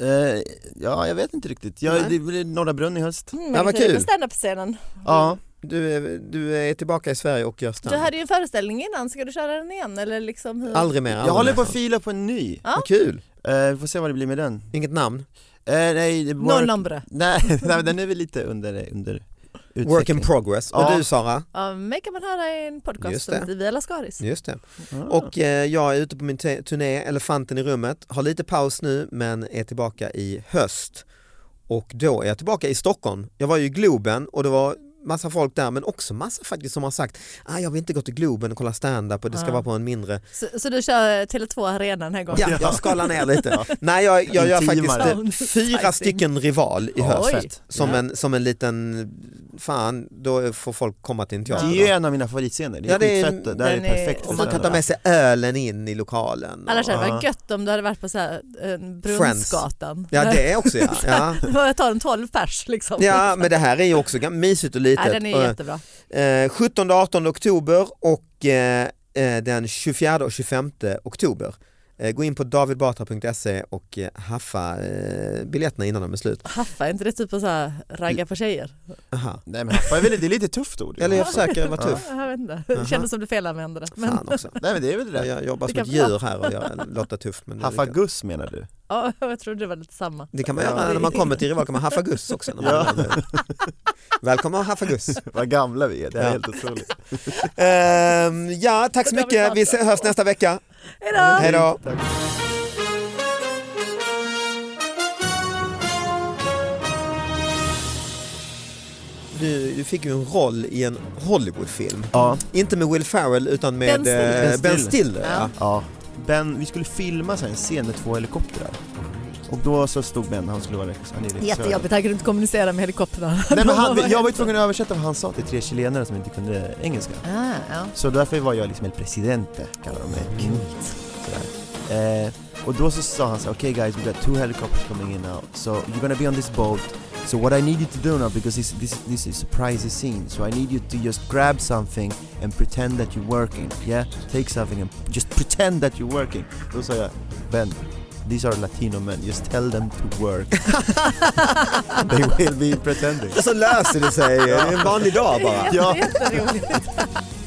[SPEAKER 2] Eh, ja jag vet inte riktigt, jag,
[SPEAKER 3] Nej.
[SPEAKER 2] det blir Norra Brunn i höst.
[SPEAKER 4] Mm,
[SPEAKER 3] Ja, vad
[SPEAKER 4] jag
[SPEAKER 3] kul.
[SPEAKER 4] På standup-scenen.
[SPEAKER 2] Ja.
[SPEAKER 3] Du, är- du är tillbaka i Sverige och gör
[SPEAKER 4] Du
[SPEAKER 3] stand
[SPEAKER 4] hade ju en föreställning innan, ska du köra den igen? Eller liksom hur?
[SPEAKER 3] Aldrig mer.
[SPEAKER 2] Jag
[SPEAKER 3] aldrig
[SPEAKER 2] håller
[SPEAKER 3] mer.
[SPEAKER 2] på att fila på en ny,
[SPEAKER 4] Ja.
[SPEAKER 3] Vad Kul,
[SPEAKER 2] eh, vi får se vad det blir med den.
[SPEAKER 3] inget namn.
[SPEAKER 2] Eh, nej, det
[SPEAKER 4] Noll
[SPEAKER 2] var,
[SPEAKER 4] nombre.
[SPEAKER 2] nej, nej, men den är väl lite under, under utveckling.
[SPEAKER 3] Work in progress.
[SPEAKER 2] Ja.
[SPEAKER 3] Och du Sara?
[SPEAKER 4] Ja, mig kan man höra i en
[SPEAKER 3] Just
[SPEAKER 4] podcast som
[SPEAKER 3] det.
[SPEAKER 4] heter Via Lascaris.
[SPEAKER 3] Just det.
[SPEAKER 2] Ah.
[SPEAKER 3] Och eh, jag är ute på min te- turné Elefanten i rummet, har lite paus nu men är tillbaka i höst. Och då är jag tillbaka i Stockholm. Jag var ju i Globen och det var massa folk där men också massa faktiskt som har sagt ah, jag vill inte gå till Globen och kolla stand-up och det
[SPEAKER 2] Ah.
[SPEAKER 3] ska
[SPEAKER 4] Ja.
[SPEAKER 3] vara på en mindre.
[SPEAKER 4] Så, så du kör eh, Tele2 Arena den här gången?
[SPEAKER 3] Ja, jag skalar ner lite. Nej jag, jag gör faktiskt
[SPEAKER 2] Intimare.
[SPEAKER 3] eh, fyra
[SPEAKER 4] Sizing.
[SPEAKER 3] stycken Rival i
[SPEAKER 2] Oj.
[SPEAKER 3] höst. Som,
[SPEAKER 2] Ja.
[SPEAKER 3] en, som en liten, fan då får folk komma till en
[SPEAKER 2] Det
[SPEAKER 3] teater.
[SPEAKER 2] är
[SPEAKER 3] då.
[SPEAKER 2] ju en av mina favoritscener, det är
[SPEAKER 3] Ja, det är-
[SPEAKER 2] skitfett, det här är
[SPEAKER 4] den är-
[SPEAKER 2] perfekt för
[SPEAKER 3] Om man kan ta
[SPEAKER 2] stand-up.
[SPEAKER 3] med sig ölen in i lokalen.
[SPEAKER 4] Annars hade det
[SPEAKER 2] Ja.
[SPEAKER 4] varit gött om du hade varit på så här, eh, Brunnsgatan.
[SPEAKER 3] Ja det är också ja. ja.
[SPEAKER 4] Jag tar en 12 pers liksom.
[SPEAKER 3] Ja men det här är ju också gam- mysigt och litet.
[SPEAKER 4] Nej, den är jättebra.
[SPEAKER 3] Eh, 17-18 oktober och eh, eh, den 24 och 25 oktober. Eh, Gå in på davidbatra.se och eh, haffa eh, biljetterna innan de är slut.
[SPEAKER 4] Haffa, är inte det typ att så här ragga på tjejer?
[SPEAKER 3] Aha.
[SPEAKER 2] Nej men haffa är väl, det är lite tufft ord. ju.
[SPEAKER 3] Eller jag försöker vara tuff.
[SPEAKER 4] Ja, jag vet inte. Det kändes som du felanvände det. Men,
[SPEAKER 3] Fan också.
[SPEAKER 2] Nej men det är väl det där.
[SPEAKER 3] Jag jobbar
[SPEAKER 4] Det
[SPEAKER 3] som ett
[SPEAKER 4] kan-
[SPEAKER 3] djur här och jag låter tuff. Men det, är
[SPEAKER 2] Haffa
[SPEAKER 3] lika-
[SPEAKER 2] Guss menar du?
[SPEAKER 4] ja, jag trodde det var lite samma.
[SPEAKER 3] det kan man
[SPEAKER 2] Ja.
[SPEAKER 3] göra när man kommer till rival, kan man haffa guss också. När man
[SPEAKER 2] Ja.
[SPEAKER 3] Välkommen att haffa guss.
[SPEAKER 2] Vad gamla vi är, det här
[SPEAKER 3] Ja.
[SPEAKER 2] är helt otroligt.
[SPEAKER 3] Ehm, ja, tack så
[SPEAKER 4] David
[SPEAKER 3] mycket. Vi
[SPEAKER 4] Batra.
[SPEAKER 3] hörs nästa vecka.
[SPEAKER 4] Hejdå!
[SPEAKER 3] Hej då.
[SPEAKER 2] Tack.
[SPEAKER 3] Du, du fick ju en roll i en Hollywoodfilm.
[SPEAKER 2] Ja,
[SPEAKER 3] Inte med Will Ferrell utan med
[SPEAKER 4] Ben Stiller.
[SPEAKER 3] eh,
[SPEAKER 2] Ben
[SPEAKER 3] Ben
[SPEAKER 2] Stiller.
[SPEAKER 3] Stiller. Ja.
[SPEAKER 4] Ja.
[SPEAKER 2] ja. Ben, vi skulle filma så här en scen med två helikoptrar. Och då så stod Ben, han skulle vara rex- han är regissör.
[SPEAKER 4] Jättejobbigt, han kunde inte kommunicera med helikoptern.
[SPEAKER 2] Nej, men han, jag var ju tvungen att översätta vad han sa till tre chilenare som inte kunde engelska.
[SPEAKER 4] Ah, ja.
[SPEAKER 2] Så därför var jag liksom el presidente, kallar de mig. Mm. Sådär. Eh, och då så sa han så här, okay guys we got two helicopters coming in now, so you're gonna be on this boat. So what I need you to do now, because this, this, this is a surprise scene, so I need you to just grab something and pretend that you're working. Yeah? Take something and just pretend that you're working. Då sa jag, Ben, these are latino men, just tell them to work. They will be pretending.
[SPEAKER 3] Och så löser det sig. Det är en vanlig dag bara.
[SPEAKER 4] Ja. Jätteroligt.